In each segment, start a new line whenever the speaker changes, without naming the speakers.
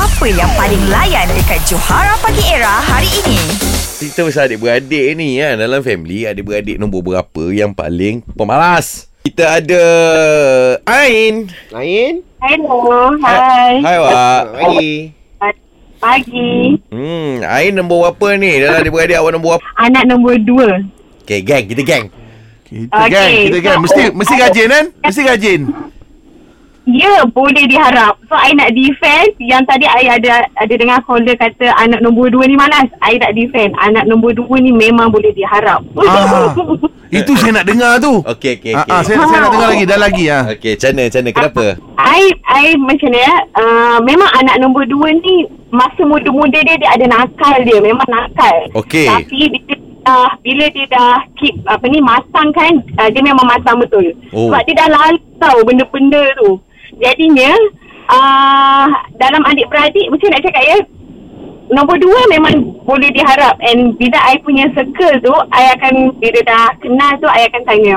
Apa yang paling layan dekat Johara Pagi Era hari ini?
Cerita pasal adik-beradik ni kan Dalam family Adik-beradik nombor berapa Yang paling pemalas Kita ada Ain
Lain
Hello, hai.
Hai Wak
Pagi
Pagi.
Hmm Ain nombor berapa ni Dalam adik-beradik awak nombor berapa
Anak nombor dua.
Okay gang Kita gang
Kita
Okey,
okay, gang, kita
so-
gang. Mesti mesti rajin kan? Mesti rajin.
Ya, boleh diharap. So, I nak defend. Yang tadi I ada ada dengar caller kata anak nombor dua ni malas. I nak defend. Anak nombor dua ni memang boleh diharap.
Ah. Itu saya nak dengar tu.
Okay okay
Ah,
okay
ah, saya, saya nak dengar lagi, dah lagi ah.
Okay macam mana macam mana Kenapa
I, I macam ni ya. Uh, memang anak nombor dua ni masa muda-muda dia, dia ada nakal dia. Memang nakal.
Okey.
Tapi bila, uh, bila dia dah keep apa ni matang kan, uh, dia memang matang betul.
Oh.
Sebab dia dah lalu tau benda-benda tu. Jadinya uh, dalam adik-beradik macam nak cakap ya, nombor dua memang boleh diharap and bila I punya circle tu I akan bila dah kenal tu I akan tanya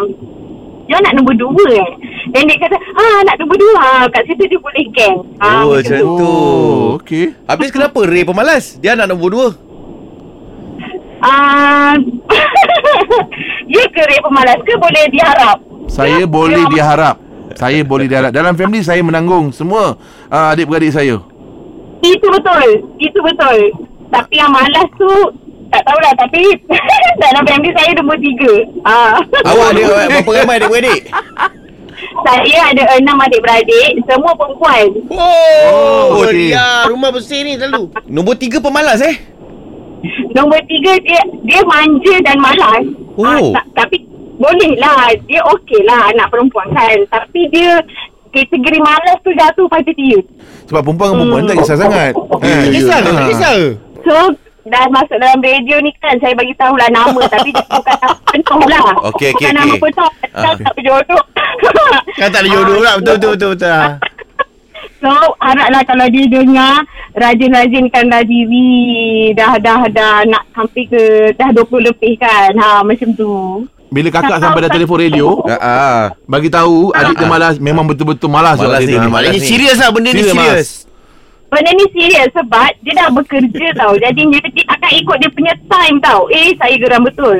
dia nak nombor dua eh dan dia kata ah nak nombor dua ah, kat situ dia boleh geng ah,
Oh
macam
macam
tu.
tu
Oh, okey.
Habis kenapa Ray pemalas Dia anak nombor dua
ah ya ke rek pemalas ke boleh diharap
Saya
Ya,
boleh
ya.
diharap. Saya boleh diharap. Dalam family saya menanggung semua ah, adik-beradik saya.
itu betul itu betul tapi yang malas tu tak tahulah tapi dalam family saya nombor tiga ah.
Oh.
Awak ada berapa ramai adik-beradik
saya ada enam adik-beradik semua perempuan
Oh,
Oh,
dia
dia.
Ah, Rumah bersih ni selalu
Nombor tiga pemalas eh
Nombor tiga dia dia manja dan malas.
Oh.
Ah, ta- tapi boleh lah. Dia okey lah anak perempuan kan. Tapi dia kategori malas tu jatuh pada dia.
Sebab perempuan dengan perempuan tak kisah sangat.
Hmm.
Eh,
Ya,
Tak kisah ke? Tak kisah ke?
So dah masuk dalam radio ni kan saya bagi tahulah nama tapi dia bukan nama penuh lah.
Okey, okey,
bukan nama
okey.
penuh.
Ah.
Ah. Tak berjodoh.
Kan tak ada jodoh pula Betul betul betul betul ah.
So haraplah kalau dia dengar Rajin-rajinkanlah diri Dah dah dah nak sampai ke Dah 20 lebih kan Ha macam tu
Bila kakak sampai dah telefon radio,
Ah, ah.
bagi tahu adik dia malas, memang betul-betul malas.
Malas
adik
ni,
dia.
dia malas.
Maknanya
ni.
serius lah Benda ni
Serius, Mas.
serius
Benda ni serius sebab dia dah bekerja tau. Jadi dia, dia akan ikut dia punya time tau. Eh, saya geram betul.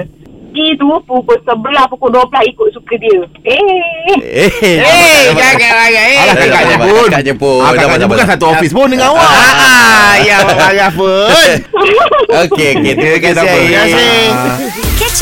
Dia tu pukul 11, pukul 12 ikut suka dia. Eh.
Eh,
Eh jangan agak eh
Alah kakak je
Sabar,
pun.
kakak je pun.
Ah,
Sabar,
kakak je
sabar.
bukan satu office pun dengan
Ah,
awak.
ah, Ya marah pun
Eh, Okey, okey. Terima
Okey,
kasih.
tak apa.
Ain.
Terima kasih
Ah.
Catch